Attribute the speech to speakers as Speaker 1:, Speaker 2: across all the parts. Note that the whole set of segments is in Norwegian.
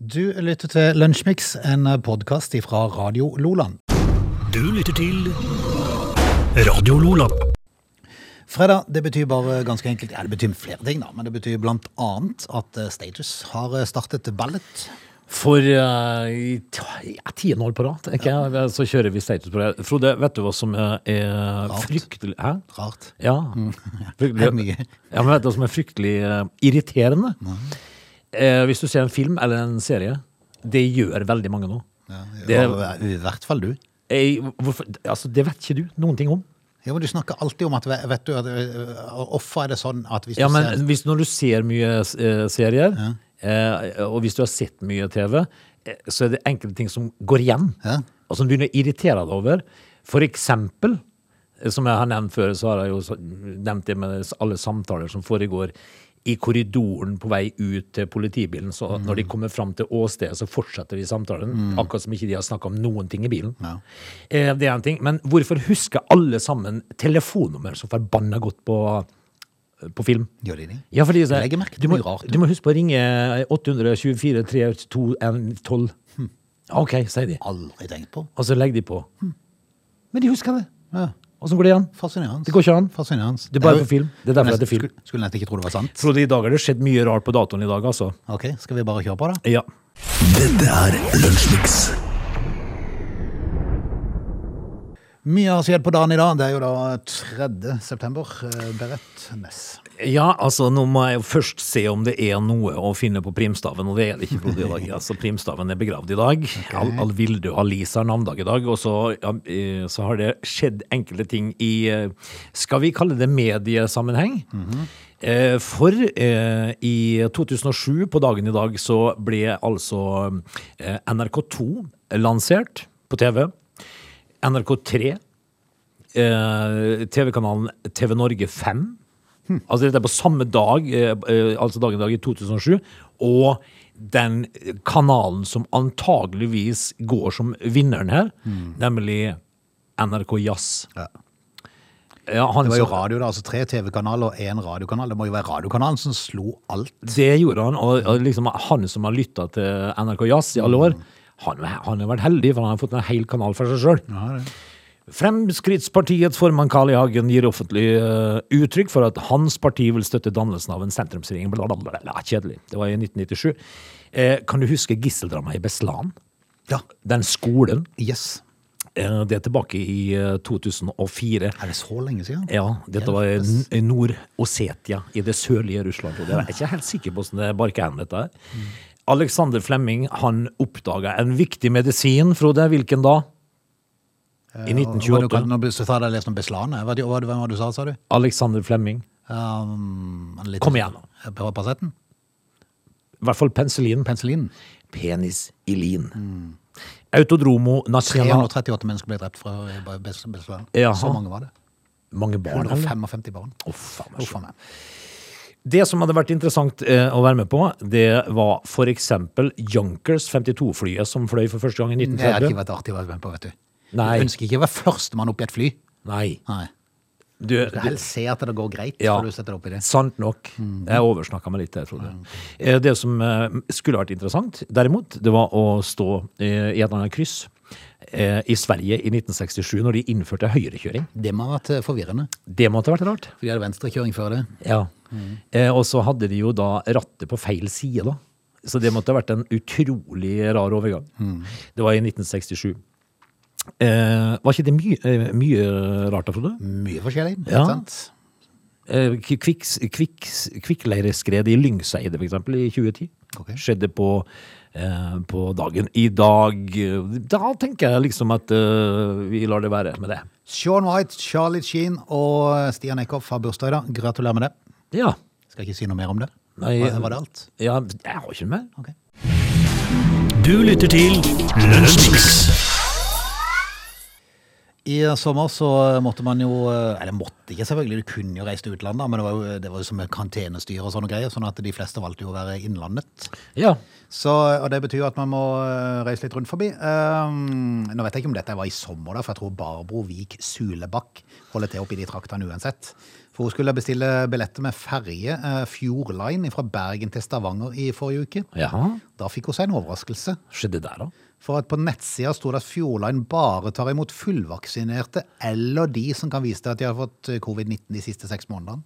Speaker 1: Du lytter til Lunsjmix, en podkast fra Radio Loland.
Speaker 2: Du lytter til Radio Lola.
Speaker 1: Fredag det betyr bare ganske enkelt, ja det betyr flere ting, da, men det betyr blant annet at eh, Status har eh, startet ballet.
Speaker 3: For eh, i t- ja, tiende år på rad, tenker jeg, så kjører vi status på det. Frode, vet du hva som eh, er fryktelig Hæ?
Speaker 1: Rart.
Speaker 3: Ja.
Speaker 1: Mm. Det er mye.
Speaker 3: ja, men vet du hva som er fryktelig eh, irriterende? Eh, hvis du ser en film eller en serie, det gjør veldig mange nå.
Speaker 1: Det...
Speaker 3: Det-
Speaker 1: I hvert fall du.
Speaker 3: Eh, hvorfor, altså, det vet ikke du noen ting om.
Speaker 1: Ja, men Du snakker alltid om at ve- vet du, at, eh, ofte er det sånn at hvis
Speaker 3: Ja,
Speaker 1: du
Speaker 3: men
Speaker 1: ser
Speaker 3: hvis, når du ser mye eh, serier, eh, og hvis du har sett mye TV, eh, så er det enkelte ting som går igjen,
Speaker 1: Ja.
Speaker 3: og som du begynner å irritere deg over. For eksempel, eh, som jeg har nevnt før, så har jeg jo så- nevnt det med s- alle samtaler som foregår i korridoren på vei ut til politibilen. Så
Speaker 1: Mm.
Speaker 3: når de kommer fram til åstedet, så fortsetter de samtalen. Akkurat som ikke de har snakka om noen ting i bilen.
Speaker 1: Ja.
Speaker 3: Eh, det er en ting. Men hvorfor husker alle sammen telefonnummer så forbanna godt på, eh, på film?
Speaker 1: Gjør de det?
Speaker 3: Ja, fordi så,
Speaker 1: Jeg legger merke til
Speaker 3: du, må,
Speaker 1: mye rart.
Speaker 3: du må huske på å ringe 824 32112. Ok, sier de.
Speaker 1: Aldri tenkt på.
Speaker 3: Og så legger de på. Men de husker det.
Speaker 1: Ja.
Speaker 3: Og så går det igjen.
Speaker 1: Fascinerende.
Speaker 3: Det går ikke an.
Speaker 1: Fascinerende.
Speaker 3: Det er bare
Speaker 1: jo-
Speaker 3: på film. Det er derfor
Speaker 1: Nesten-
Speaker 3: det er film.
Speaker 1: Skulle, skulle nesten ikke tro det var sant.
Speaker 3: Frode, i dag har det skjedd mye rart på datoen i dag, altså.
Speaker 1: Ok, Skal vi bare kjøre på, da?
Speaker 3: Ja.
Speaker 2: Dette er Lunsjmix.
Speaker 1: Mye har skjedd på dagen i dag. Det er jo da 3. september. eh, Berett Ness.
Speaker 3: ja, altså, nå må jeg jo først se om det er noe å finne på primstaven, og det er det ikke, Frode, i dag. Altså, primstaven er begravd i dag. Al Alvilde og Alisa har navndag i dag, og så, ja, eh, så har det skjedd enkelte ting i, eh, skal vi kalle det mediesammenheng? Eh, For eh, i 2007, på dagen i dag, så ble altså eh, NRK2 lansert på TV. NRK3 eh, TV-kanalen TV Norge 5. Altså dette er på samme dag, eh, eh, altså dagen i dag i 2007, og den kanalen som antageligvis går som vinneren her, nemlig NRK Jazz.
Speaker 1: Ja.
Speaker 3: Ja, han
Speaker 1: Det var jo
Speaker 3: som-
Speaker 1: radio, da. altså Tre TV-kanaler og én radiokanal. Det må jo være radiokanalen som slo alt.
Speaker 3: Det gjorde han, og, og liksom, han som har lytta til NRK Jazz i alle år,
Speaker 1: Mm.
Speaker 3: han, han har vært heldig, for han har fått en hel kanal for seg sjøl. Fremskrittspartiets formann Carl I. Hagen gir offentlig eh, uttrykk for at hans parti vil støtte dannelsen av en sentrumsregjering. Bla, bla, bla, bla. Kjedelig. Det var i 1997. Eh, kan du huske gisseldramaet i Beslan?
Speaker 1: Ja.
Speaker 3: Den skolen.
Speaker 1: Yes.
Speaker 3: Eh, det er tilbake i eh, 2004.
Speaker 1: Er det så lenge siden?
Speaker 3: Ja, dette var i N- i Nord-Ossetia, i det sørlige Russland. Og det er jeg ikke helt sikker på hvordan det barker hen, dette
Speaker 1: Mm.
Speaker 3: her. Alexander Flemming han oppdaga en viktig medisin, Frode. Hvilken da? I
Speaker 1: Hva Eh, du kan-
Speaker 3: 1928.
Speaker 1: Nå så sa jeg jeg leste om Beslan. Hva hva- hva var det du sa, sa du?
Speaker 3: Alexander Flemming.
Speaker 1: Um, en liten-
Speaker 3: Kom igjen, da.
Speaker 1: På Parsetten?
Speaker 3: I hvert fall penicillin.
Speaker 1: Penicillin.
Speaker 3: Penis i lin. Autodromo Nacional
Speaker 1: 338 mennesker ble drept fra eh, Bes- Beslan.
Speaker 3: Jaha.
Speaker 1: Så mange var det.
Speaker 3: Mange barn. eller?
Speaker 1: 155 barn.
Speaker 3: Å, faen,
Speaker 1: Huff a meg.
Speaker 3: Det som hadde vært interessant eh, å være med på, det var for eksempel Junkers 52-flyet som fløy for første gang i
Speaker 1: Det hadde
Speaker 3: 1930.
Speaker 1: ikke vært artig å være med på, vet du.
Speaker 3: Nei.
Speaker 1: Du ønsker ikke å være førstemann opp i et fly.
Speaker 3: Nei.
Speaker 1: Nei.
Speaker 3: Du,
Speaker 1: Du
Speaker 3: du,
Speaker 1: helst se at det går greit
Speaker 3: Ja.
Speaker 1: før du setter deg opp i det. Mm.
Speaker 3: Sant nok. Jeg oversnakka meg litt, jeg trodde. Eh, Det som eh, skulle vært interessant, derimot, det var å stå eh, i et eller annet kryss eh, i Sverige i 1967, når de innførte høyrekjøring.
Speaker 1: Det må ha vært eh, forvirrende.
Speaker 3: Det måtte ha vært rart.
Speaker 1: For de hadde venstrekjøring før det.
Speaker 3: Ja. Eh, og så hadde de jo da rattet på feil side, da. Så det måtte ha vært en utrolig rar overgang. Det var i 1967. Eh, var ikke det mye, eh, mye rart, da, Frode?
Speaker 1: Mye forskjellig.
Speaker 3: Ja.
Speaker 1: Ikke sant?
Speaker 3: Eh, kviks- kviks- Kvikkleireskred i Lyngseidet, for eksempel, i 2010.
Speaker 1: Ok.
Speaker 3: Skjedde på, eh, på dagen i dag. Da tenker jeg liksom at eh, vi lar det være med det.
Speaker 1: Sean White, Charlie Sheen og eh, Stian Eckhoff har bursdag i dag. Gratulerer med det.
Speaker 3: Ja.
Speaker 1: Skal ikke si noe mer om det.
Speaker 3: Nei,
Speaker 1: var, var det alt?
Speaker 3: ja jeg har ikke mer.
Speaker 1: Ok.
Speaker 2: Du lytter til Lunsjmix.
Speaker 1: I eh, sommer så måtte man jo eh, Eller måtte ikke, selvfølgelig. Du kunne jo reist til utlandet, men det var jo, eh, det var jo som et karantenestyre og sånne greier, sånn at de fleste valgte jo å være innlandet.
Speaker 3: Ja.
Speaker 1: Så, og det betyr jo at man må eh, reise litt rundt forbi. Ehm, nå vet jeg ikke om dette var i sommer, da, for jeg tror Barbro Vik Sulebakk holder til oppe i de traktene uansett. For hun skulle bestille billetter med ferje eh, Fjordline fra Bergen til Stavanger i forrige uke.
Speaker 3: Ja,
Speaker 1: Da fikk hun seg en overraskelse.
Speaker 3: skjedde det der da?
Speaker 1: For at på nettsida sto det at Fjordline bare tar imot fullvaksinerte eller de som kan vise til at de har fått covid-19 de siste seks månedene.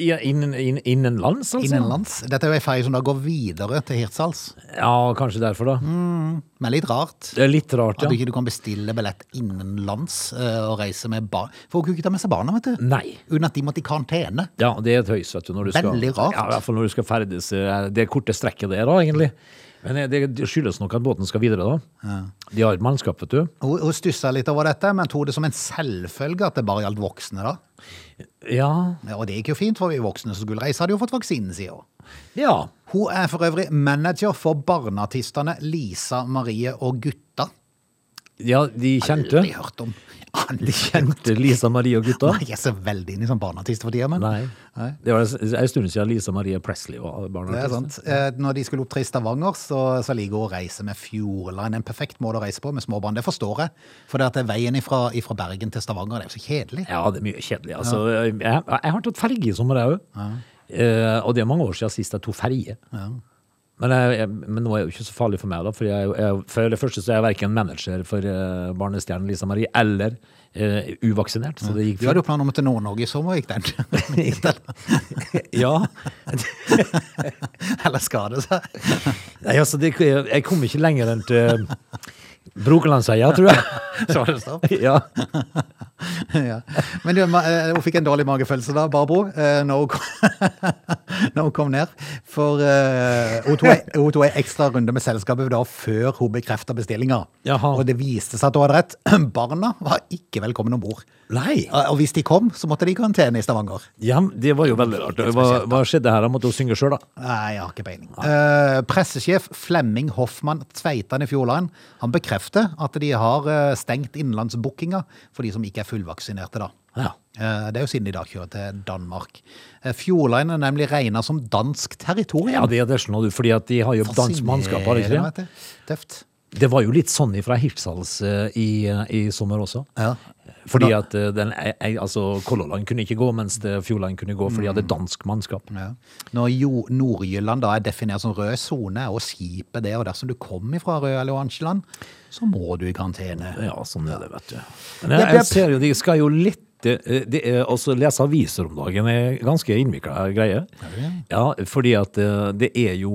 Speaker 3: Ja, innen, inn- innenlands, altså?
Speaker 1: Innenlands. Dette er jo ei ferje som da går videre til Hirtshals.
Speaker 3: Ja, kanskje derfor, da.
Speaker 1: Mm. Men litt rart.
Speaker 3: Det er litt rart,
Speaker 1: At du
Speaker 3: ja.
Speaker 1: ikke du kan bestille billett innenlands eh, og reise med barn. For hun kunne ikke ta med seg barna, vet du.
Speaker 3: Nei.
Speaker 1: Uten at de måtte i karantene.
Speaker 3: Ja, det er et høys, vet du. Når du skal,
Speaker 1: Veldig rart.
Speaker 3: Ja, I hvert fall når du skal ferdes eh, det korte strekket der, da, egentlig. Men eh, det det skyldes nok at båten skal videre, da. De har et mannskap, vet du.
Speaker 1: Hun, hun stussa litt over dette, men tok det som en selvfølge at det bare gjaldt voksne, da.
Speaker 3: Ja.
Speaker 1: Ja, Og det gikk jo fint, for vi voksne som skulle reise, hadde jo fått vaksinen, sier hun.
Speaker 3: Ja.
Speaker 1: Hun er for øvrig manager for barneartistene Lisa, Marie og Gutta.
Speaker 3: ja de kjente.
Speaker 1: Aldri hørt om. Aldri kjent.
Speaker 3: Kjente Lisa Marie og gutta.
Speaker 1: Nei, jeg er så veldig inn i sånn barneartist for tida, men
Speaker 3: Nei. Det var en stund siden Lisa Marie Presley var barn.
Speaker 1: det er sant. Eh, Når de skulle opptre i Stavanger, så, så ligger hun og reiser med Fjordline. En perfekt måte å reise på med småbarn, det forstår jeg. For det at det er veien ifra, ifra Bergen til Stavanger, det er jo så kjedelig.
Speaker 3: Ja, det er mye kjedelig. Altså, jeg, jeg har tatt ferge i sommer, jeg òg. Eh, og det er mange år siden sist jeg tok ferge. Men, jeg, jeg, men nå er det jo ikke så farlig for meg, da. For, jeg, jeg, for det første så er jeg verken manager for eh, barnestjernen Lisa Marie eller eh, uvaksinert. Så det gikk
Speaker 1: Du hadde jo planer om til Nord-Norge i sommer, gikk den?
Speaker 3: fint. Ja.
Speaker 1: Eller skal det seg?
Speaker 3: Nei, altså, det, jeg kom ikke lenger enn til Brokelandsheia, tror jeg.
Speaker 1: Så var det stopp.
Speaker 3: ja.
Speaker 1: Ja. Men du, ma- eh, hun fikk en dårlig magefølelse da, Barbro, eh, når hun kom, når hun kom ned. For eh, hun tok ei- hun tok en ekstra runde med selskapet da, før hun bekrefta bestillinga.
Speaker 3: Jaha.
Speaker 1: Og det viste seg at hun hadde rett. Barna var ikke velkommen om bord.
Speaker 3: Nei.
Speaker 1: Og hvis de kom, så måtte de i karantene i Stavanger.
Speaker 3: Ja, det var jo veldig rart. Hva, hva skjedde her? Jeg måtte jo synge sjøl, da.
Speaker 1: Nei, jeg har ikke peiling. Eh, pressesjef Flemming Hoffmann Tveitan i Fjordland han bekrefter at de har eh, stengt innenlandsbookinga for de som ikke er fullvaksinerte. da.
Speaker 3: Ja.
Speaker 1: Eh, Det er jo siden de da kjører til Danmark. Eh, Fjordline er nemlig regna som dansk
Speaker 3: Ja,
Speaker 1: territorium.
Speaker 3: det er det sånn, du, fordi at de har jo dansk mannskap, har de ikke det?
Speaker 1: Fascinerende, vet du. Tøft.
Speaker 3: Det var jo litt sånn fra Hirtshals eh, i, i sommer også.
Speaker 1: Ja.
Speaker 3: Fordi at eh, den, eh, eh, altså Color Line kunne ikke gå, mens det Fjord Line kunne gå, for de hadde dansk mannskap.
Speaker 1: Ja. Når jo- Nord-Jylland da er definert som rød sone, og skipet det, og dersom du kom ifra rød eller oransje land, så må du i karantene.
Speaker 3: Ja, sånn er det, vet du.
Speaker 1: Jepp,
Speaker 3: Men jeg,
Speaker 1: jepp.
Speaker 3: jeg ser jo, de skal jo litt eh, det er også lese aviser om dagen er ganske innvikla greie. Ja, fordi at eh, det er jo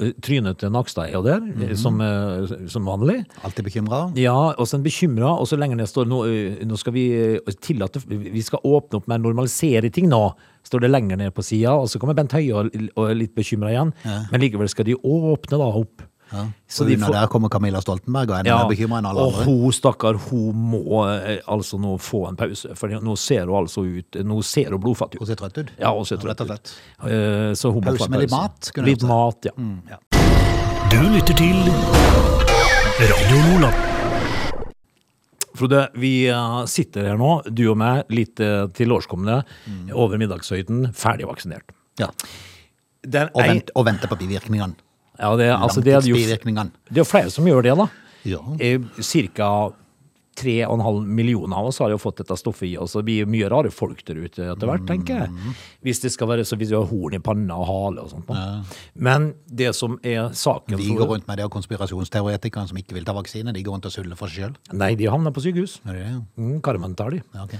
Speaker 3: eh, trynet til Nakstad er jo der, eh, som, eh, som vanlig.
Speaker 1: Alltid bekymra?
Speaker 3: Ja, og så en bekymra, og så lenger ned står nå, ø, nå skal vi ø, tillate Vi skal åpne opp med å normalisere ting nå, står det lenger ned på sida. Og så kommer Bent Høie og, og er litt bekymra igjen. Men likevel skal de åpne da opp.
Speaker 1: Så de får... der kommer Camilla Stoltenberg og er
Speaker 3: Ja,
Speaker 1: mer bekymra enn alle
Speaker 3: og
Speaker 1: andre.
Speaker 3: hun stakkar, hun må eh, altså nå få en pause. For nå ser hun altså ut Nå ser hun blodfattig
Speaker 1: Hun
Speaker 3: ut.
Speaker 1: ser trøtt ut.
Speaker 3: Ja, hun ser
Speaker 1: Ja,
Speaker 3: trøtt
Speaker 1: rett og
Speaker 3: ut. Eh, Så hun må
Speaker 1: Pause
Speaker 3: få en
Speaker 1: med litt
Speaker 3: pause.
Speaker 1: mat, kunne
Speaker 3: Litt
Speaker 1: jeg
Speaker 3: mat, ja.
Speaker 1: Mm,
Speaker 2: Du lytter til Radio Lola.
Speaker 3: Frode, vi eh, sitter her nå, du og meg, litt eh, til årskomne,
Speaker 1: Mm.
Speaker 3: over middagshøyden, ferdig vaksinert.
Speaker 1: Ja.
Speaker 3: Den
Speaker 1: Og,
Speaker 3: ei-
Speaker 1: vent, og venter på bivirkningene.
Speaker 3: Ja, det, er- altså, det, er jo, det
Speaker 1: Langtidsbivirkningene.
Speaker 3: er jo flere som gjør det, da.
Speaker 1: Ja.
Speaker 3: Eh, Cirka 3,5 millioner av oss har jo fått dette stoffet i oss. og Det blir mye rare folk der ute etter hvert, tenker jeg.
Speaker 1: Mm.
Speaker 3: Hvis det skal være så hvis du har horn i panna og hale og sånt. da. Men det som er saken
Speaker 1: De går rundt med det, og konspirasjonsteoretikerne som ikke vil ta vaksine, de går rundt og suller for seg sjøl.
Speaker 3: Nei, de havner på sykehus.
Speaker 1: Ja,
Speaker 3: Mm, Karmen tar de.
Speaker 1: ok.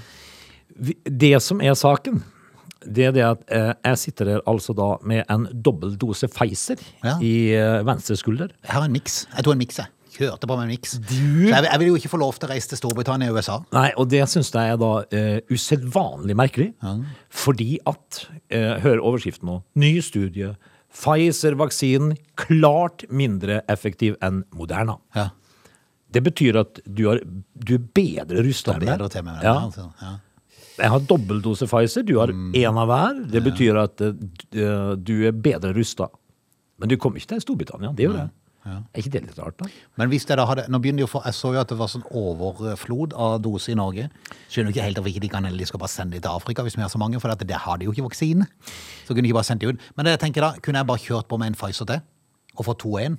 Speaker 3: Vi- Det som er saken, det er det at eh, jeg sitter her altså da med en dobbel dose Pfizer
Speaker 1: Ja.
Speaker 3: i eh, venstre skulder.
Speaker 1: Jeg har en miks. Jeg tok en miks, jeg. Kjørte på med en miks. Så Jeg, jeg vil jo ikke få lov til å reise til Storbritannia og USA.
Speaker 3: Nei, og det syns jeg er da eh, usedvanlig merkelig. Fordi at eh, Hør overskriften nå. Ny studie. Pfizer-vaksinen klart mindre effektiv enn Moderna.
Speaker 1: Ja.
Speaker 3: Det betyr at du, har, du er bedre rusta
Speaker 1: Det er bedre til med det.
Speaker 3: Ja.
Speaker 1: altså. Ja.
Speaker 3: Jeg har dobbeltdose Pfizer, du har én av hver. Det betyr at eh, d- eh, du er bedre rusta. Men du kommer ikke til Storbritannia, det gjør jeg. Er ikke det litt rart, da?
Speaker 1: Men hvis jeg da hadde, nå begynner jo for, jeg så jo at det var sånn overflod av doser i Norge. Skjønner jo ikke helt hvorfor ikke de kan eller de skal bare sende de til Afrika hvis vi har så mange, for at der har de jo ikke vaksine. Så kunne de ikke bare sendt de ut. Men det jeg tenker da, kunne jeg bare kjørt på med en Pfizer til, og fått 2-1,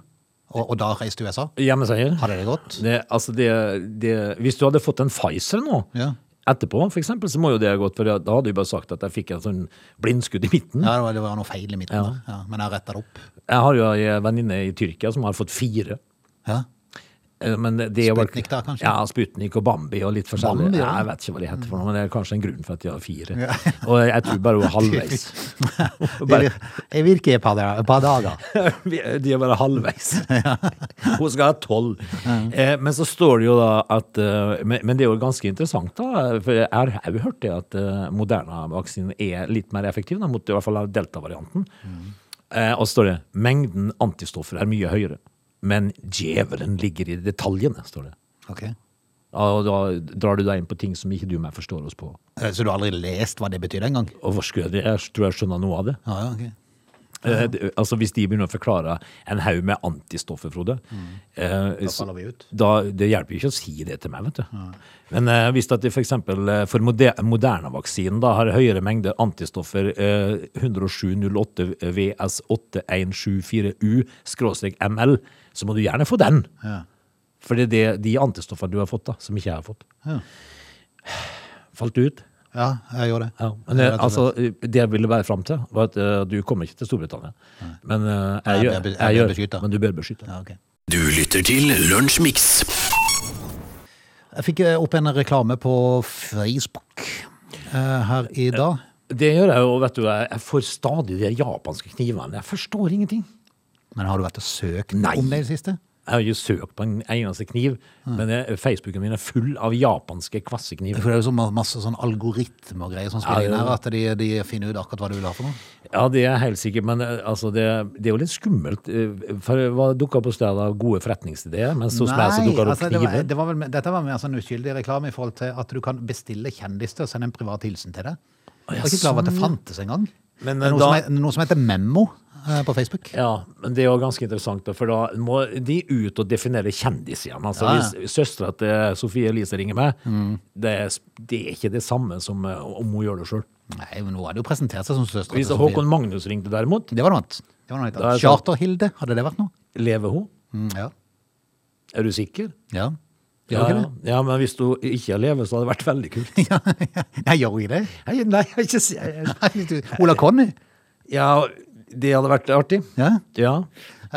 Speaker 1: og, og da reist til USA?
Speaker 3: Hjemmeseier?
Speaker 1: Hadde det gått?
Speaker 3: Det, altså det, det, hvis du hadde fått en Pfizer nå
Speaker 1: Ja.
Speaker 3: etterpå, for eksempel, så må jo det ha gått, for da hadde jeg bare sagt at jeg fikk et sånn blindskudd i midten.
Speaker 1: Ja, det var, det var noe feil i midten,
Speaker 3: Ja.
Speaker 1: da. ja. men jeg retta det opp.
Speaker 3: Jeg har jo en venninne i Tyrkia som har fått fire.
Speaker 1: Ja.
Speaker 3: Eh, Men det er jo-
Speaker 1: Sputnik da, kanskje?
Speaker 3: Ja, Sputnik og Bambi og litt forskjellig.
Speaker 1: Bambi, ja.
Speaker 3: ja. Jeg vet ikke hva de heter for noe, men det er kanskje en grunn for at de har fire. Og jeg tror bare hun er halvveis.
Speaker 1: Det vir- det virker i et par dager- et par dager.
Speaker 3: Vi- De er bare halvveis. Hun skal ha tolv. Eh, Men så står det jo da at eh, Men men det er jo ganske interessant, da. For jeg har jeg har jo hørt det at eh, Moderna-vaksinen er litt mer effektiv, da, mot i hvert fall delta-varianten. Eh, Og så står det mengden antistoffer er mye høyere. Men djevelen ligger i detaljene, står det.
Speaker 1: Ok. Eh,
Speaker 3: Ja, og da drar du deg inn på ting som ikke du og jeg forstår oss på.
Speaker 1: Eh, Så du har aldri lest hva det betydde engang?
Speaker 3: Og hvor skulle jeg, jeg tror jeg skjønner noe av det.
Speaker 1: Ja, ja, ok.
Speaker 3: Eh, det- altså Hvis de begynner å forklare en haug med antistoffer, Frode eh,
Speaker 1: Da
Speaker 3: så-
Speaker 1: faller vi ut.
Speaker 3: da, Det hjelper jo ikke å si det til meg, vet du. Men eh, hvis at de for eksempel eh, for moder Moderna-vaksinen da har høyere mengder antistoffer eh, 10708 VS8174U-ML, så må du gjerne få den.
Speaker 1: Ja.
Speaker 3: For det er det, de antistoffene du har fått, da, som ikke jeg har fått.
Speaker 1: Ja.
Speaker 3: Falt du ut?
Speaker 1: Ja, jeg gjorde det.
Speaker 3: Ja, men det,
Speaker 1: Rett og
Speaker 3: altså, det jeg ville være fram til, var at eh, du kommer ikke til Storbritannia. Men eh, jeg,
Speaker 1: jeg
Speaker 3: gjør,
Speaker 1: bør- jeg
Speaker 3: jeg
Speaker 1: bør
Speaker 3: gjør,
Speaker 1: beskytte.
Speaker 3: men du bør beskytte.
Speaker 1: Ja, ok.
Speaker 2: Du lytter til Lunsjmix.
Speaker 1: Jeg fikk eh, opp en reklame på Facebook eh, her i dag.
Speaker 3: Det gjør jeg jo, vet du. Jeg jeg får stadig de japanske knivene. Jeg forstår ingenting.
Speaker 1: Men har du vært og søkt
Speaker 3: Nei.
Speaker 1: om det i det siste?
Speaker 3: Jeg har jo søkt på en eneste kniv, men eh, Facebooken min er full av japanske kvassekniver.
Speaker 1: For det er jo så ma- masse sånn algoritme og greier som
Speaker 3: Ja,
Speaker 1: spiller inn
Speaker 3: ja,
Speaker 1: her,
Speaker 3: ja.
Speaker 1: at de, de finner ut akkurat hva du vil ha for noe.
Speaker 3: Ja, det er helt sikkert, men eh, altså, det, det er jo litt skummelt. eh, For hva dukka på stedet av gode forretningsideer, mens hos meg så dukka det opp
Speaker 1: altså, det var,
Speaker 3: kniver.
Speaker 1: det var vel, dette var mer sånn uskyldig reklame i forhold til at du kan bestille kjendis til å sende en privat hilsen til deg. Jeg var ikke klar over at det fantes engang.
Speaker 3: sånn, Men,
Speaker 1: Det er
Speaker 3: eh,
Speaker 1: noe,
Speaker 3: da-
Speaker 1: som, he- noe som heter Memo eh, på Facebook.
Speaker 3: Ja, men det er jo ganske interessant, da, for da må de ut og definere kjendis igjen. Altså,
Speaker 1: Ja, Mm. ja.
Speaker 3: Hvis søstera til Sofie Elise ringer meg, det, er s- det er ikke det samme som eh, om hun gjør det sjøl.
Speaker 1: Nei, men hun hadde jo presentert seg som søster.
Speaker 3: Hvis Håkon Magnus ringte derimot,
Speaker 1: Det var noe annet. Det var noe helt
Speaker 3: Da er
Speaker 1: annet.
Speaker 3: det sant.
Speaker 1: Charterhilde, hadde det vært noe?
Speaker 3: lever hun?
Speaker 1: Mm, ja.
Speaker 3: Er du sikker?
Speaker 1: Ja.
Speaker 3: Ja,
Speaker 1: Gjør hun ikke
Speaker 3: ja, men hvis du ikke lever, så hadde det vært veldig kult.
Speaker 1: det? Ja. Nei, gjør hun ikke det?
Speaker 3: Nei, nei, jeg er ikke si- jeg- jeg-
Speaker 1: Nei, du- Ola Conny?
Speaker 3: Ja, det hadde vært artig.
Speaker 1: Ja.
Speaker 3: Ja.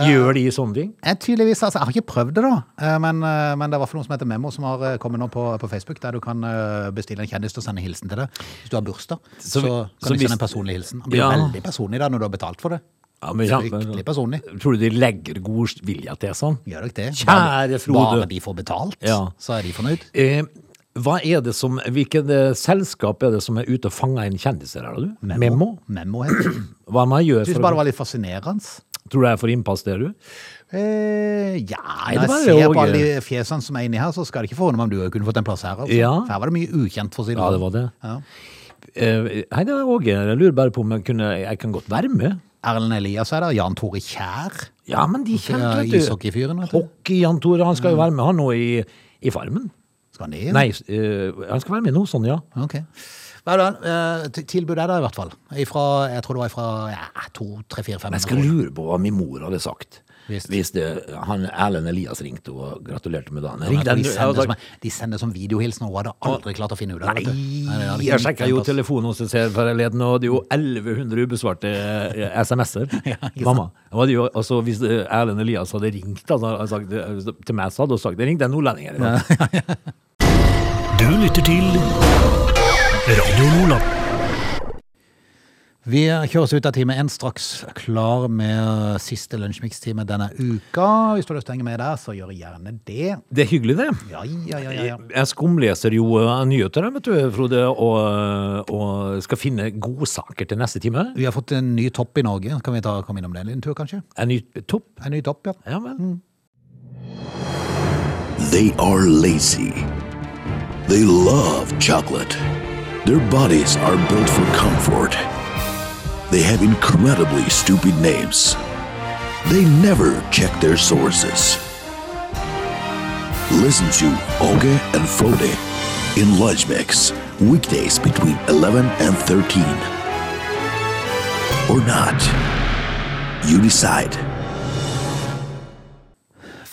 Speaker 3: Gjør de sånne ting?
Speaker 1: Jeg, tydeligvis, altså, jeg har ikke prøvd det, da. Eh, Men, eh, men det er i hvert fall noe som heter Memo, som har eh, kommet nå på, på Facebook, der du kan eh, bestille en kjendis til å sende hilsen til deg. Hvis du har bursdag,
Speaker 3: Så
Speaker 1: så,
Speaker 3: vi-
Speaker 1: kan
Speaker 3: så
Speaker 1: du
Speaker 3: hvis-
Speaker 1: sende en personlig hilsen. Han blir
Speaker 3: Ja.
Speaker 1: veldig personlig da, når du har betalt for det.
Speaker 3: Ja, men,
Speaker 1: Fryktelig personlig.
Speaker 3: Tror du de legger god vilje til sånn?
Speaker 1: Gjør dere ikke det?
Speaker 3: Kjære Frode.
Speaker 1: Bare de får betalt,
Speaker 3: Ja.
Speaker 1: så er de fornøyd.
Speaker 3: Eh, hva er det som, hvilket eh, selskap er det som er ute og fanger inn kjendiser her, da, du? Memo?
Speaker 1: Memo heter det.
Speaker 3: Hva man gjør
Speaker 1: Syns
Speaker 3: for
Speaker 1: bare det
Speaker 3: å,
Speaker 1: var litt fascinerende.
Speaker 3: Tror du jeg får innpass der, du?
Speaker 1: Eh, ja,
Speaker 3: det
Speaker 1: når
Speaker 3: var
Speaker 1: jeg
Speaker 3: jo
Speaker 1: ser på
Speaker 3: gøy.
Speaker 1: alle de fjesene som er inni her, så skal det ikke forundre meg om du kunne fått en plass her. Altså.
Speaker 3: Ja.
Speaker 1: For Her var det mye ukjent, for å si det
Speaker 3: Ja,
Speaker 1: sånn.
Speaker 3: det var det.
Speaker 1: Ja.
Speaker 3: Eh, hei, det var Åge. Jeg lurer bare på om jeg, kunne, jeg kan godt være med.
Speaker 1: Erlend Elias er der, Jan Tore Kjær,
Speaker 3: Ja, men de
Speaker 1: ja,
Speaker 3: kjente, vet du.
Speaker 1: ishockeyfyren, vet du.
Speaker 3: Hockey-Jan Tore, han skal jo være med, han nå i, i Farmen.
Speaker 1: Skal han det?
Speaker 3: Nei, eh, han skal være med nå, sånn, ja.
Speaker 1: Ok. Hva er det, eh, til- tilbudet er der i hvert fall. Ifra, jeg tror det var fra ja, to, tre, fire, fem.
Speaker 3: Men jeg skal lure på hva min mor hadde sagt.
Speaker 1: Visst.
Speaker 3: Hvis det, han Erlend Elias ringte og gratulerte med dagen.
Speaker 1: Men jeg tror
Speaker 3: Ringte
Speaker 1: Sånn de, sender
Speaker 3: han-
Speaker 1: som, de sender som videohilsen, og hun hadde aldri klart å finne ut av det. vet du. Nei, det hadde
Speaker 3: Nei,
Speaker 1: ikke
Speaker 3: jeg
Speaker 1: funnet
Speaker 3: sjekka jo
Speaker 1: på.
Speaker 3: telefonen hos oss her forleden, og det er jo 1100 ubesvarte eh, SMS-er.
Speaker 1: sant?
Speaker 3: Mamma. det var det jo, altså, hvis eh, Erlend Elias hadde ringt da, så hadde han sagt, eh, til meg, så hadde hun sagt det ringte en nordlending her i dag.
Speaker 2: Du lytter til Radio Nordland.
Speaker 1: Vi kjører oss ut av time 1 straks klar med siste lunsjmikstime denne uka. Hvis du har lyst til å henge med der, så gjør gjerne det.
Speaker 3: Det er hyggelig, det.
Speaker 1: Ja, ja, ja, ja. ja.
Speaker 3: Jeg skumleser jo eh, nyheter, vet du, Frode, og, eh, og skal finne godsaker til neste time.
Speaker 1: Vi har fått en ny topp i Norge. Kan vi ta, komme innom det en liten tur, kanskje?
Speaker 3: En ny topp.
Speaker 1: En ny topp, ja.
Speaker 3: Ja vel.
Speaker 4: They are lazy. They love chocolate. Their bodies are built for comfort. They have incredibly stupid names. They never check their sources. Listen to Oge and Frode in Lunch Mix, weekdays between 11 and 13. Or not. You decide.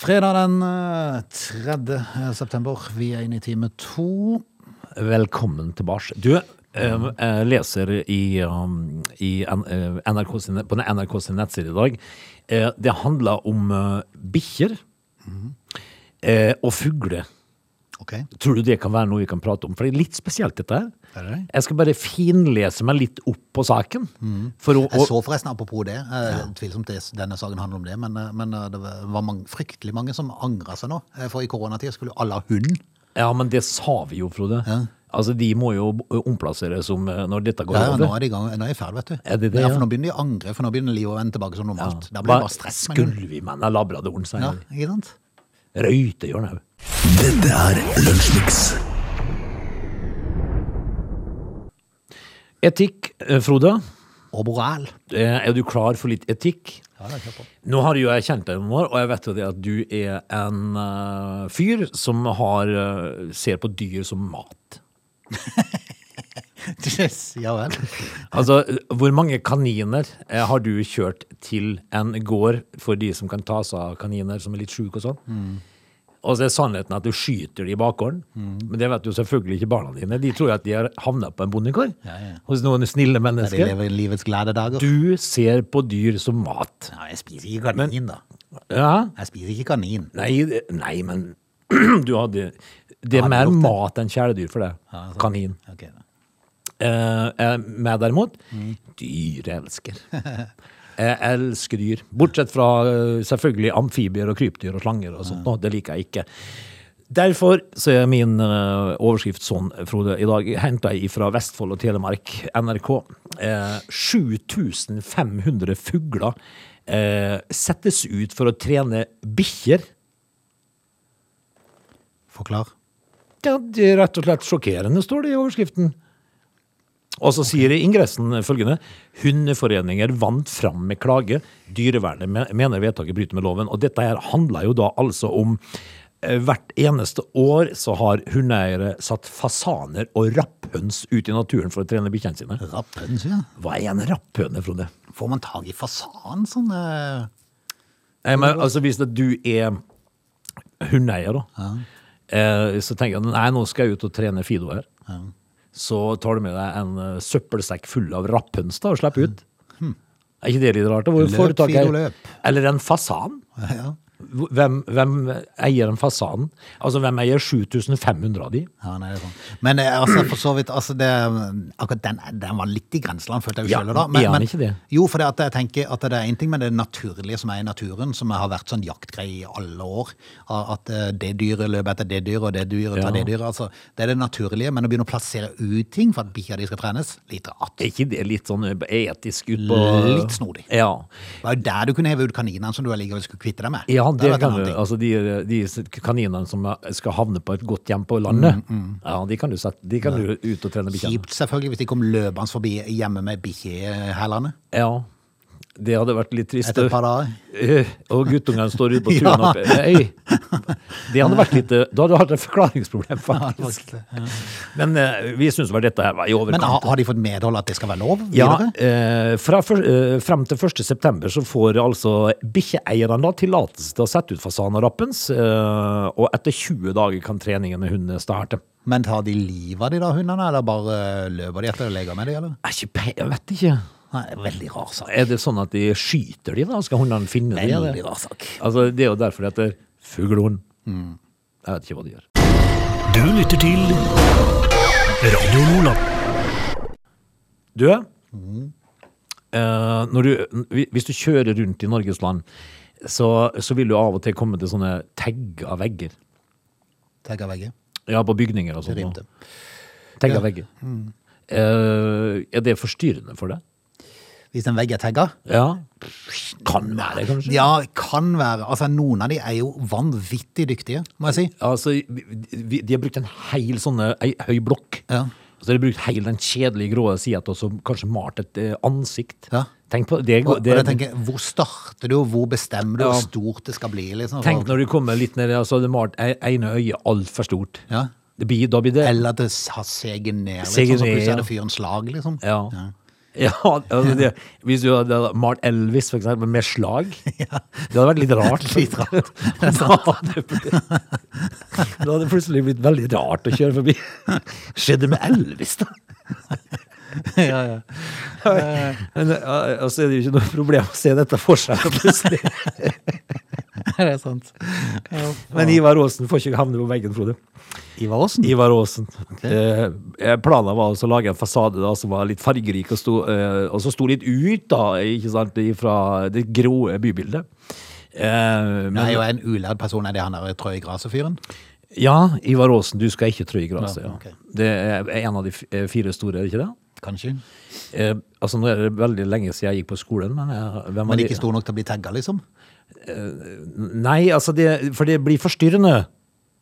Speaker 1: eh, Fredag den eh, 3. september. Vi er inne i time 2.
Speaker 3: Velkommen tilbake. Du, eh, jeg leser i, um, i N- eh, NRK sin, på NRK sin nettside i dag. Eh, Det handler om eh, bikkjer eh, og fugler.
Speaker 1: Ok.
Speaker 3: Tror du det kan være noe vi kan prate om? For det er litt spesielt, dette her.
Speaker 1: Er det det?
Speaker 3: Jeg skal bare finlese meg litt opp på saken. For å,
Speaker 1: Mm. Jeg
Speaker 3: og,
Speaker 1: så forresten, apropos det, eh, tvilsomt det, denne saken handler om det, men, eh, men eh, det var mange, fryktelig mange som angra seg nå. eh, For i koronatida skulle alle ha hund.
Speaker 3: ja, men det sa vi jo, Frode.
Speaker 1: Ja.
Speaker 3: Altså, de må jo omplassere som eh, når dette går
Speaker 1: Ja, ja,
Speaker 3: over.
Speaker 1: nå er de i gang, nå er de ferdig, vet du.
Speaker 3: Er det det,
Speaker 1: ja,
Speaker 3: ja?
Speaker 1: for nå begynner de å angre, for nå begynner livet å vende tilbake som normalt. Da blir
Speaker 3: Hva
Speaker 1: det bare stress. med hund.
Speaker 3: Skulle vi med den labradoren, sier
Speaker 1: Ja,
Speaker 3: jeg.
Speaker 1: ikke sant?
Speaker 3: Røytehjørn òg.
Speaker 4: Dette er Lunsjmix.
Speaker 3: Etikk, eh, Frode.
Speaker 1: Og moral.
Speaker 3: Eh, Er du klar for litt etikk?
Speaker 1: Ja, da, kjør på.
Speaker 3: Nå har jo jeg kjent deg noen år, og jeg vet jo det at du er en eh, fyr som har, eh, ser på dyr som mat.
Speaker 1: Yes, ja vel.
Speaker 3: Altså, hvor mange kaniner eh, har du kjørt til en gård for de som kan ta seg av kaniner som er litt sjuke og sånn?
Speaker 1: Mm.
Speaker 3: Og så er sannheten at du skyter de i bakgården,
Speaker 1: Mm.
Speaker 3: men det vet jo selvfølgelig ikke barna dine. De tror jo at de har havnet på en bondegård
Speaker 1: Ja, ja.
Speaker 3: hos noen snille
Speaker 1: De
Speaker 3: mennesker.
Speaker 1: lever livets glade dager.
Speaker 3: Du ser på dyr som mat.
Speaker 1: Ja, jeg spiser ikke kanin, da.
Speaker 3: Ja?
Speaker 1: Jeg spiser ikke kanin.
Speaker 3: Nei, det- nei men du hadde Det er
Speaker 1: Hadde
Speaker 3: mer
Speaker 1: gjort det.
Speaker 3: mat enn kjæledyr for deg.
Speaker 1: sant.
Speaker 3: Kanin.
Speaker 1: Altså, Ok.
Speaker 3: Eh, eh, meg derimot, dyr jeg elsker. Jeg elsker dyr. Bortsett fra eh, selvfølgelig amfibier og krypdyr og slanger og sånt. nå, Det liker jeg ikke. Derfor så er min eh, overskrift sånn, Frode, i dag henta jeg fra Vestfold og Telemark, NRK. Eh, 7500 fugler eh, settes ut for å trene bikkjer.
Speaker 1: Forklar.
Speaker 3: Ja, det er rett og slett sjokkerende, står det i overskriften. Og så sier ingressen følgende. Hundeforeninger vant fram med klage. Dyrevernet me- mener vedtaket bryter med loven. Og dette her handler jo da altså om eh, Hvert eneste år så har hundeeiere satt fasaner og rapphøns ut i naturen for å trene bikkjene sine.
Speaker 1: Rappens, ja.
Speaker 3: Hva er en rapphøne, Frode?
Speaker 1: Får man tag i fasan sånn? eh?
Speaker 3: Nei, men altså Hvis det, du er hundeeier, da, eh, så tenker jeg nei, nå skal jeg ut og trene Fido her. Så tar du med deg en eh, søppelsekk full av rapphøns da, og slipper ut. Er ikke det litt rart? da? Hvor
Speaker 1: Hm. Løp,
Speaker 3: får du tak i-
Speaker 1: Fido, løp.
Speaker 3: Eller en fasan.
Speaker 1: Ja.
Speaker 3: Hvem, hvem eier en fasan? Altså, hvem eier 7500 av de?
Speaker 1: Ja, nei, det er sånn. Men eh, altså, for så vidt, altså, det, akkurat den, den var litt i grenseland, følte jeg jo
Speaker 3: Ja,
Speaker 1: selv. da.
Speaker 3: er han ikke det?
Speaker 1: Jo, for det at jeg tenker at det er en ting med det naturlige som er i naturen, som har vært sånn jaktgreie i alle år. av At eh, det dyret løper etter det dyret, og det dyret
Speaker 3: Ja.
Speaker 1: tar det dyret. altså, Det er det naturlige, men å begynne å plassere ut ting for at bikkja di skal trenes, litt rart.
Speaker 3: Er ikke det litt sånn etisk ut på
Speaker 1: Litt snodig.
Speaker 3: Ja.
Speaker 1: Det var jo der du kunne heve ut kaninene som du allikevel skulle kvitte deg med.
Speaker 3: Ja,
Speaker 1: Det
Speaker 3: det
Speaker 1: hadde vært en
Speaker 3: kan
Speaker 1: annen
Speaker 3: du.
Speaker 1: ting.
Speaker 3: Altså de, de kaninene som eh, skal havne på et godt hjem på landet,
Speaker 1: Mm,
Speaker 3: ja, de kan du, sette, de kan du ut og trene bikkjene.
Speaker 1: Kjipt selvfølgelig hvis de kom løpende forbi hjemme med bikkjehælene
Speaker 3: Ja, det hadde vært litt trist.
Speaker 1: etter et par dager.
Speaker 3: Eh, Og guttungene står ute på
Speaker 1: Ja.
Speaker 3: turen oppe. Nei, det hadde vært litt, eh, da hadde du hatt et forklaringsproblem, faktisk. Men eh, vi syns vel dette her var i
Speaker 1: Men har,
Speaker 3: overkant.
Speaker 1: har de fått medhold at det skal være lov
Speaker 3: Ja,
Speaker 1: videre?
Speaker 3: eh, fra fyr- eh, frem til 1. september så får altså bikkjeeierne da tillatelse til å sette ut fasan og rappens, eh, og etter 20 dager kan treningen med hundene starte.
Speaker 1: Men tar de livet av de da, hundene, eller bare løper de etter og leker med de, eller?
Speaker 3: Jeg, er ikke, pe- jeg vet ikke.
Speaker 1: Nei, veldig rar sak.
Speaker 3: Er det sånn at de skyter de, da? Skal hundene finne de? eller?
Speaker 1: Veldig rar sak.
Speaker 3: Altså, det er jo derfor det heter fuglehund.
Speaker 1: Mm.
Speaker 3: Jeg vet ikke hva de gjør.
Speaker 2: Du lytter til Radio Lola.
Speaker 3: Du, eh, når du, hvis du kjører rundt i Norges land, så, så vil du av og til komme til sånne tagga vegger.
Speaker 1: Tenker veggen.
Speaker 3: Ja, på bygninger og
Speaker 1: Det
Speaker 3: sånt.
Speaker 1: rimte.
Speaker 3: Tagga vegger.
Speaker 1: Mm.
Speaker 3: Eh, er det forstyrrende for deg?
Speaker 1: Hvis en vegg er tagga?
Speaker 3: Ja. Kan være, kanskje.
Speaker 1: Ja, kan være. Altså, noen av de er jo vanvittig dyktige, må jeg si.
Speaker 3: Altså, vi- de har brukt en hel sånne, ei, høy blokk.
Speaker 1: Ja.
Speaker 3: Så de har brukt hele den kjedelige grå sida og så kanskje malt et eh, ansikt.
Speaker 1: Ja.
Speaker 3: Tenk på det.
Speaker 1: Og,
Speaker 3: går-
Speaker 1: og
Speaker 3: det
Speaker 1: jeg tenker, hvor starter du, og hvor bestemmer du
Speaker 3: Ja.
Speaker 1: hvor stort det skal bli, liksom?
Speaker 3: tenk
Speaker 1: For-
Speaker 3: når du kommer litt ned, og så har du malt e- ene øyet altfor stort.
Speaker 1: Ja.
Speaker 3: Det blir, da blir det
Speaker 1: Eller at det s- har seget ned, litt
Speaker 3: Seget
Speaker 1: sånn, så
Speaker 3: ned,
Speaker 1: plutselig
Speaker 3: ja.
Speaker 1: er det fyrens lag, liksom.
Speaker 3: ja. Ja, altså det, Hvis du hadde malt Elvis for eksempel, med slag, det hadde vært litt rart.
Speaker 1: Litt rart.
Speaker 3: Da hadde det blitt- da hadde det plutselig blitt veldig rart å kjøre forbi. Skjedde med Elvis, da?
Speaker 1: ja, ja.
Speaker 3: Men eh, altså, er det jo ikke noe problem å se dette for seg plutselig.
Speaker 1: Det er sant. Ja.
Speaker 3: Men Ivar Aasen får ikke havne på veggen, Frode.
Speaker 1: Ivar Aasen?
Speaker 3: Ivar Aasen. Eh, planen var altså å lage en fasade da, som var litt fargerik, og, sto, eh, og som sto litt ut da, ikke sant, fra det grå bybildet. Eh, men,
Speaker 1: Han er jo en ulærd person, er det han der eh, Trøy Grase-fyren?
Speaker 3: Ja, Ivar Aasen, du skal ikke trø i gresset.
Speaker 1: Ja,
Speaker 3: Ja,
Speaker 1: ok.
Speaker 3: Det er en av de f- eh, fire store, er det ikke det?
Speaker 1: Kanskje.
Speaker 3: Eh, altså, nå er det veldig lenge siden jeg gikk på skolen, men jeg, hvem var
Speaker 1: Men
Speaker 3: de-
Speaker 1: ikke stor nok til å bli tagga, liksom?
Speaker 3: Nei, altså, det, for det blir forstyrrende.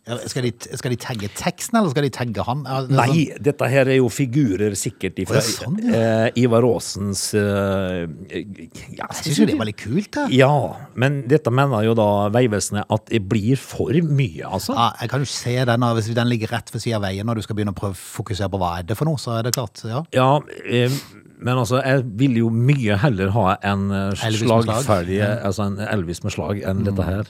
Speaker 1: Ja, Skal de, skal de tagge teksten, eller skal de tagge han? Ja, det er sånn-
Speaker 3: Nei, dette her er jo figurer
Speaker 1: Å,
Speaker 3: sikkert
Speaker 1: ja,
Speaker 3: fra
Speaker 1: sånn, ja.
Speaker 3: eh, Ivar Aasens eh, ja,
Speaker 1: Jeg syns jo det var litt kult, da.
Speaker 3: Ja, men dette mener jo da Vegvesenet at det blir for mye, altså.
Speaker 1: Ja, jeg kan jo se den, og hvis den ligger rett ved siden av veien, og du skal begynne å prøve å fokusere på hva er det for noe, så er det klart. Ja.
Speaker 3: Ja, eh, men altså, jeg vil jo mye heller ha en eh,
Speaker 1: Elvis med slag. Mm.
Speaker 3: slagferdig Altså en Elvis med slag enn dette her.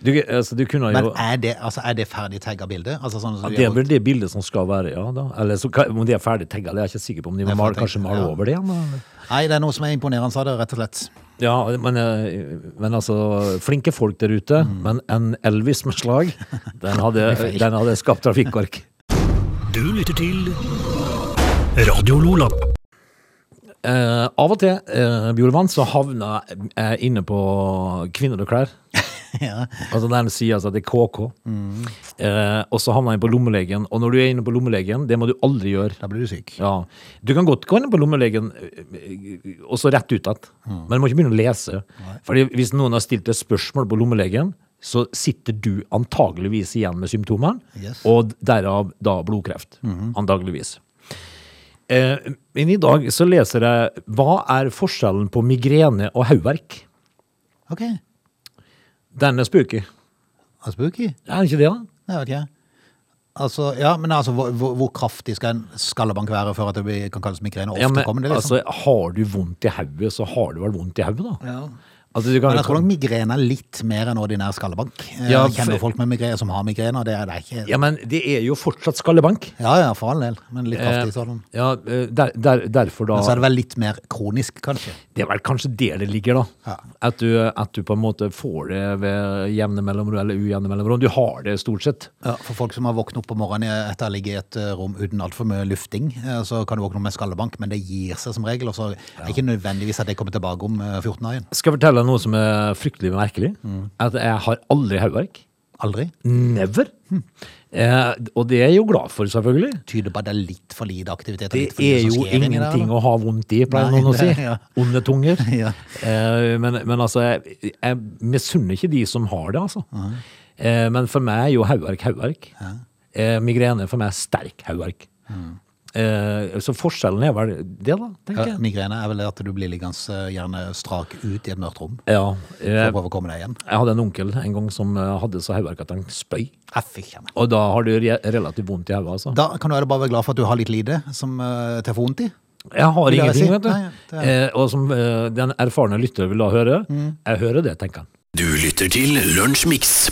Speaker 3: Du, altså, du kunne
Speaker 1: Men
Speaker 3: jo
Speaker 1: er det, altså, er det ferdig tagga bilde? Altså, sånn som
Speaker 3: ja,
Speaker 1: du
Speaker 3: Det er
Speaker 1: gjør-
Speaker 3: vel det bildet som skal være, ja da. Eller så, kan- om de er ferdig tagga, det er jeg ikke sikker på. Om de
Speaker 1: Nei, for
Speaker 3: mal,
Speaker 1: jeg
Speaker 3: kanskje
Speaker 1: tenker-
Speaker 3: maler
Speaker 1: ja.
Speaker 3: over det igjen? da.
Speaker 1: Nei, det er noe som er imponerende, sa det, rett og slett.
Speaker 3: Ja, men, eh, men altså Flinke folk der ute,
Speaker 1: Mm.
Speaker 3: men en Elvis med slag, den hadde, den hadde skapt trafikkork.
Speaker 2: Du lytter til Radio Lola.
Speaker 3: Eh, av og til, eh, Bjorvann, så havna jeg inne på kvinner og klær.
Speaker 1: ja.
Speaker 3: Altså den sier altså at det er KK. Eh, og så havner jeg på lommelegen. Og når du er inne på lommelegen, det må du aldri gjøre.
Speaker 1: Da blir du syk.
Speaker 3: Ja. Du kan godt gå inn på lommelegen eh, og så rett ut igjen, men du må ikke begynne å lese. Fordi hvis noen har stilt et spørsmål på lommelegen, så sitter du antageligvis igjen med symptomene,
Speaker 1: Yes.
Speaker 3: og derav da blodkreft. Antageligvis. Eh, men i dag så leser jeg Hva er forskjellen på migrene og hodeverk?
Speaker 1: Ok,
Speaker 3: Den er spooky.
Speaker 1: og spooky.
Speaker 3: Er ikke det, da?
Speaker 1: Jeg vet ikke. Altså, ja, men altså, hvor, hvor, hvor kraftig skal en skallebank være før at det blir, kan kalles migrene? Ofte
Speaker 3: Ja, men,
Speaker 1: kommer det, liksom.
Speaker 3: altså, har du vondt i hodet, så har du vel vondt i hodet, da.
Speaker 1: ja.
Speaker 3: Altså, du kan,
Speaker 1: Men jeg tror nok migrene er litt mer enn ordinær skallebank. Eh,
Speaker 3: Ja,
Speaker 1: jeg kjenner
Speaker 3: for-
Speaker 1: folk med migrene som har migrene, og det er det er ikke.
Speaker 3: ja, men det er jo fortsatt skallebank.
Speaker 1: Ja, ja, for all del, men litt kraftig sånn.
Speaker 3: Eh, ja, eh, der, der, derfor da
Speaker 1: Men så er det vel litt mer kronisk, kanskje.
Speaker 3: Det er vel kanskje der det ligger, da.
Speaker 1: Ja.
Speaker 3: At, du, at du på en måte får det ved jevne mellomrom, eller ujevne mellomrom. Du har det stort sett.
Speaker 1: Ja, for folk som har våknet opp på morgenen etter å ligge i et eh, rom uten altfor mye lufting, eh, så kan du våkne opp med skallebank, men det gir seg som regel. Og så er det ikke nødvendigvis at det kommer tilbake om eh, 14 dager igjen.
Speaker 3: Skal jeg fortelle deg noe som er fryktelig merkelig?
Speaker 1: Mm.
Speaker 3: At jeg har aldri hodeverk.
Speaker 1: Aldri.
Speaker 3: Never.
Speaker 1: Hm.
Speaker 3: Eh, og det er jeg jo glad for, selvfølgelig.
Speaker 1: Tyder på at det er litt for lite aktivitet. og
Speaker 3: Det
Speaker 1: litt for
Speaker 3: er
Speaker 1: lite som
Speaker 3: jo
Speaker 1: skjer inni der,
Speaker 3: ingenting
Speaker 1: da.
Speaker 3: å ha vondt i, pleier
Speaker 1: Nei,
Speaker 3: noen å si.
Speaker 1: det- ja.
Speaker 3: Onde tunger.
Speaker 1: Ja.
Speaker 3: Eh, men, men altså, jeg, jeg misunner ikke de som har det, altså. Eh, men for meg er jo hauverk hauverk. Eh, migrene for meg er sterk hauverk. Eh, så forskjellen er vel det, da, tenker
Speaker 1: Mm. Ja,
Speaker 3: jeg.
Speaker 1: migrene er vel at du blir liggende eh, gjerne strak ut i et mørkt rom
Speaker 3: Ja.
Speaker 1: for
Speaker 3: Eh,
Speaker 1: å prøve å komme deg igjen.
Speaker 3: jeg hadde en onkel en gang som eh, hadde så hauverk at han spøy.
Speaker 1: Ja, fy kjenne.
Speaker 3: Og da har du re relativt vondt i hodet, altså.
Speaker 1: Da kan du være bare være glad for at du har litt lite som eh, til for vondt i.
Speaker 3: Jeg har
Speaker 1: Vil jeg
Speaker 3: ingenting,
Speaker 1: si?
Speaker 3: vet du.
Speaker 1: Nei, det er- Mm.
Speaker 3: eh, og som eh, den erfarne lytter vil da høre, jeg hører det, tenker han.
Speaker 2: Du lytter til Lunsjmix.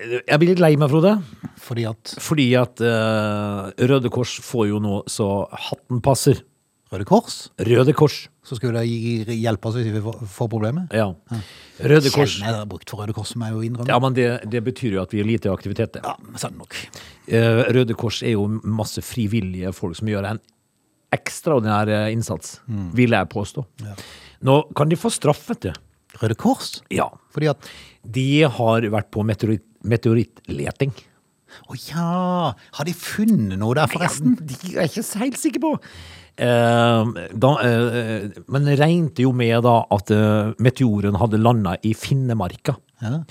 Speaker 3: Jeg blir litt lei meg, Frode,
Speaker 1: Fordi at
Speaker 3: fordi at eh, Røde Kors får jo nå så hatten passer.
Speaker 1: Røde Kors,
Speaker 3: Røde Kors,
Speaker 1: så skulle det gi- hjelpe oss hvis vi får- får problemer.
Speaker 3: ja. Røde Kors.
Speaker 1: Sjelden er det brukt for Røde Kors, må jeg jo innrømme.
Speaker 3: Ja, men det, det betyr jo at vi er lite i aktivitet. det.
Speaker 1: Ja, men sant nok.
Speaker 3: Eh, Røde Kors er jo masse frivillige folk som gjør en ekstraordinær eh, innsats, vil jeg påstå. Nå kan de få straff, vet du.
Speaker 1: Røde Kors?
Speaker 3: Ja.
Speaker 1: Fordi at
Speaker 3: De har vært på meteorit, meteorittleting.
Speaker 1: Å ja! Har de funnet noe der, forresten?
Speaker 3: Ja, de er jeg ikke helt sikker på. Eh, da, eh, men regnet jo med da at eh, meteoren hadde landa i Finnemarka.
Speaker 1: Ja.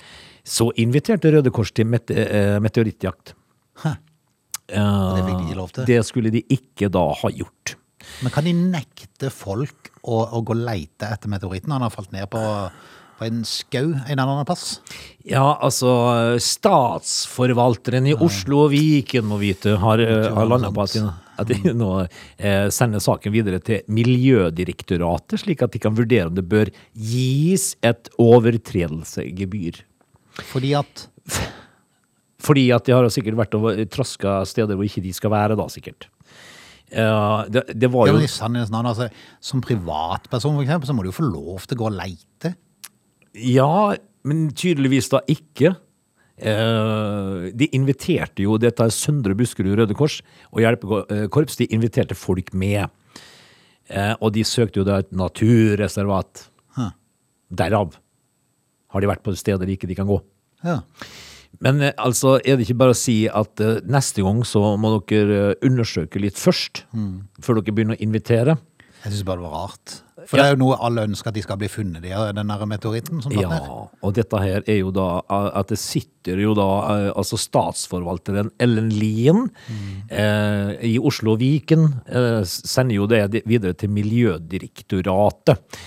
Speaker 3: Så inviterte Røde Kors til mete, eh, meteorittjakt.
Speaker 1: det fikk de ikke lov til.
Speaker 3: Det skulle de ikke da ha gjort.
Speaker 1: Men kan de nekte folk å, å gå leite etter meteoritten? Han har falt ned på, på en skau en eller annen plass.
Speaker 3: Ja, altså Statsforvalteren i Oslo og Viken, må vite, har, eh, har landa på at de- At de nå eh, sender saken videre til Miljødirektoratet, slik at de kan vurdere om det bør gis et overtredelsegebyr.
Speaker 1: Fordi at
Speaker 3: Fordi at de har jo sikkert vært og traska steder hvor ikke de skal være, da, sikkert. Eh, det, det var
Speaker 1: ja,
Speaker 3: jo
Speaker 1: men i sannhetens navn, altså, Som privatperson, for eksempel, så må du jo få lov til å gå og leite.
Speaker 3: Ja, men tydeligvis da ikke. Eh, de inviterte jo, dette er Søndre Buskerud Røde Kors og Hjelpekorps, de inviterte folk med. Eh, og de søkte jo da et naturreservat. Derav har de vært på steder ikke de kan gå.
Speaker 1: Ja.
Speaker 3: Men eh, altså, er det ikke bare å si at eh, neste gang så må dere eh, undersøke litt først, før dere begynner å invitere?
Speaker 1: Jeg syns bare det var rart. For det
Speaker 3: Ja.
Speaker 1: er jo noe alle ønsker at de skal bli funnet, de, den der meteoritten som datt
Speaker 3: Ja,
Speaker 1: ned.
Speaker 3: og dette her er jo da eh, at det sitter jo da eh, altså statsforvalteren Ellen Lien eh, i Oslo og Viken eh, s- sender jo det di- videre til Miljødirektoratet.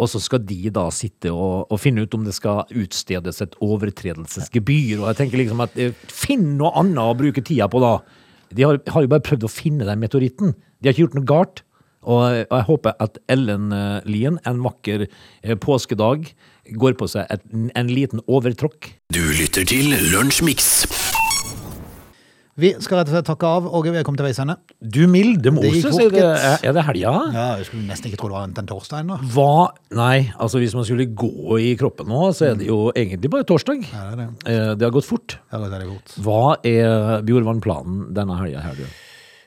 Speaker 3: Og så skal de da sitte og, og finne ut om det skal utstedes et overtredelsesgebyr. Og jeg tenker liksom at eh, finn noe annet å bruke tida på da. De har, har jo bare prøvd å finne den meteoritten. De har ikke gjort noe galt. Og, og jeg håper at Ellen eh, Lien en vakker eh, påskedag går på seg et, en liten overtråkk.
Speaker 2: Du lytter til Lunsjmix.
Speaker 1: Vi skal rett og slett takke av, og vi er kommet til veis ende.
Speaker 3: Du milde
Speaker 1: gikk
Speaker 3: Moses,
Speaker 1: fort,
Speaker 3: er det,
Speaker 1: gitt.
Speaker 3: er det helga?
Speaker 1: Ja, jeg skulle nesten ikke tro det var annet enn torsdag ennå.
Speaker 3: Hva Nei, altså hvis man skulle gå i kroppen nå, så er det jo egentlig bare torsdag.
Speaker 1: Ja, det er det.
Speaker 3: Eh, det har gått fort.
Speaker 1: Ja, det er veldig godt.
Speaker 3: Hva er Bjorvann-planen denne helga her, du?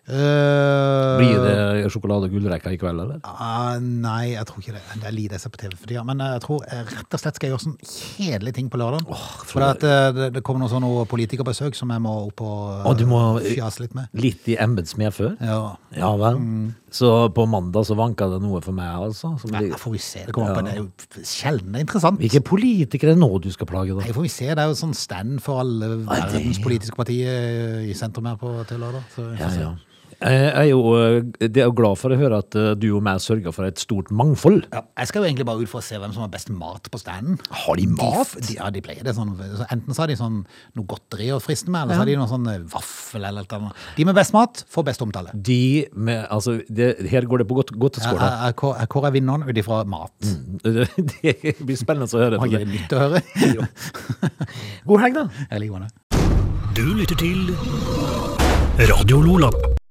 Speaker 1: Eh,
Speaker 3: Blir det sjokolade og gullrekka i kveld, eller?
Speaker 1: ah, nei, jeg tror ikke det. Det er lite jeg ser på TV for tida. Men eh, jeg tror jeg rett og slett skal jeg gjøre sånne kjedelige ting på lørdag.
Speaker 3: jeg tror
Speaker 1: for at, eh, det, det kommer noen sånne politikerbesøk som jeg må opp og eh,
Speaker 3: Å, du må-
Speaker 1: fjase litt med.
Speaker 3: Litt i embets medfør?
Speaker 1: Ja.
Speaker 3: Ja Mm. vel. Så på mandag så vanka det noe for meg, altså? Som
Speaker 1: Nei,
Speaker 3: det-
Speaker 1: får vi se. Det kommer an på. Det er jo sjelden det er interessant.
Speaker 3: Hvilke politikere er det nå du skal plage,
Speaker 1: Nei,
Speaker 3: da?
Speaker 1: får vi se. Det er jo sånn stand for alle
Speaker 3: Nei, det-
Speaker 1: verdens politiske partier eh, i sentrum her på til lørdag. Så vi får
Speaker 3: Ja,
Speaker 1: se.
Speaker 3: ja. Jeg er jo, eh, det er jo glad for å høre at eh, du og meg sørger for et stort mangfold.
Speaker 1: Ja, jeg skal jo egentlig bare ut for å se hvem som har best mat på standen.
Speaker 3: Har de mat?
Speaker 1: De, ja, de pleier det. Sånn, så enten så har de sånn noe godteri å friste med, eller så har de noe sånn eh, vaffel eller et eller annet. De med best mat får best omtale.
Speaker 3: De med Altså, det, her går det på godt, godt
Speaker 1: Jeg,
Speaker 3: skål. Mm.
Speaker 1: jeg, jeg kår- jeg kårer eh, vinneren ut ifra mat.
Speaker 3: Det blir spennende å
Speaker 1: Har
Speaker 3: høre. på
Speaker 1: ikke
Speaker 3: det.
Speaker 1: det nytt å høre?
Speaker 3: God helg, da.
Speaker 1: Jeg liker det.
Speaker 2: Du lytter til Radio Lola.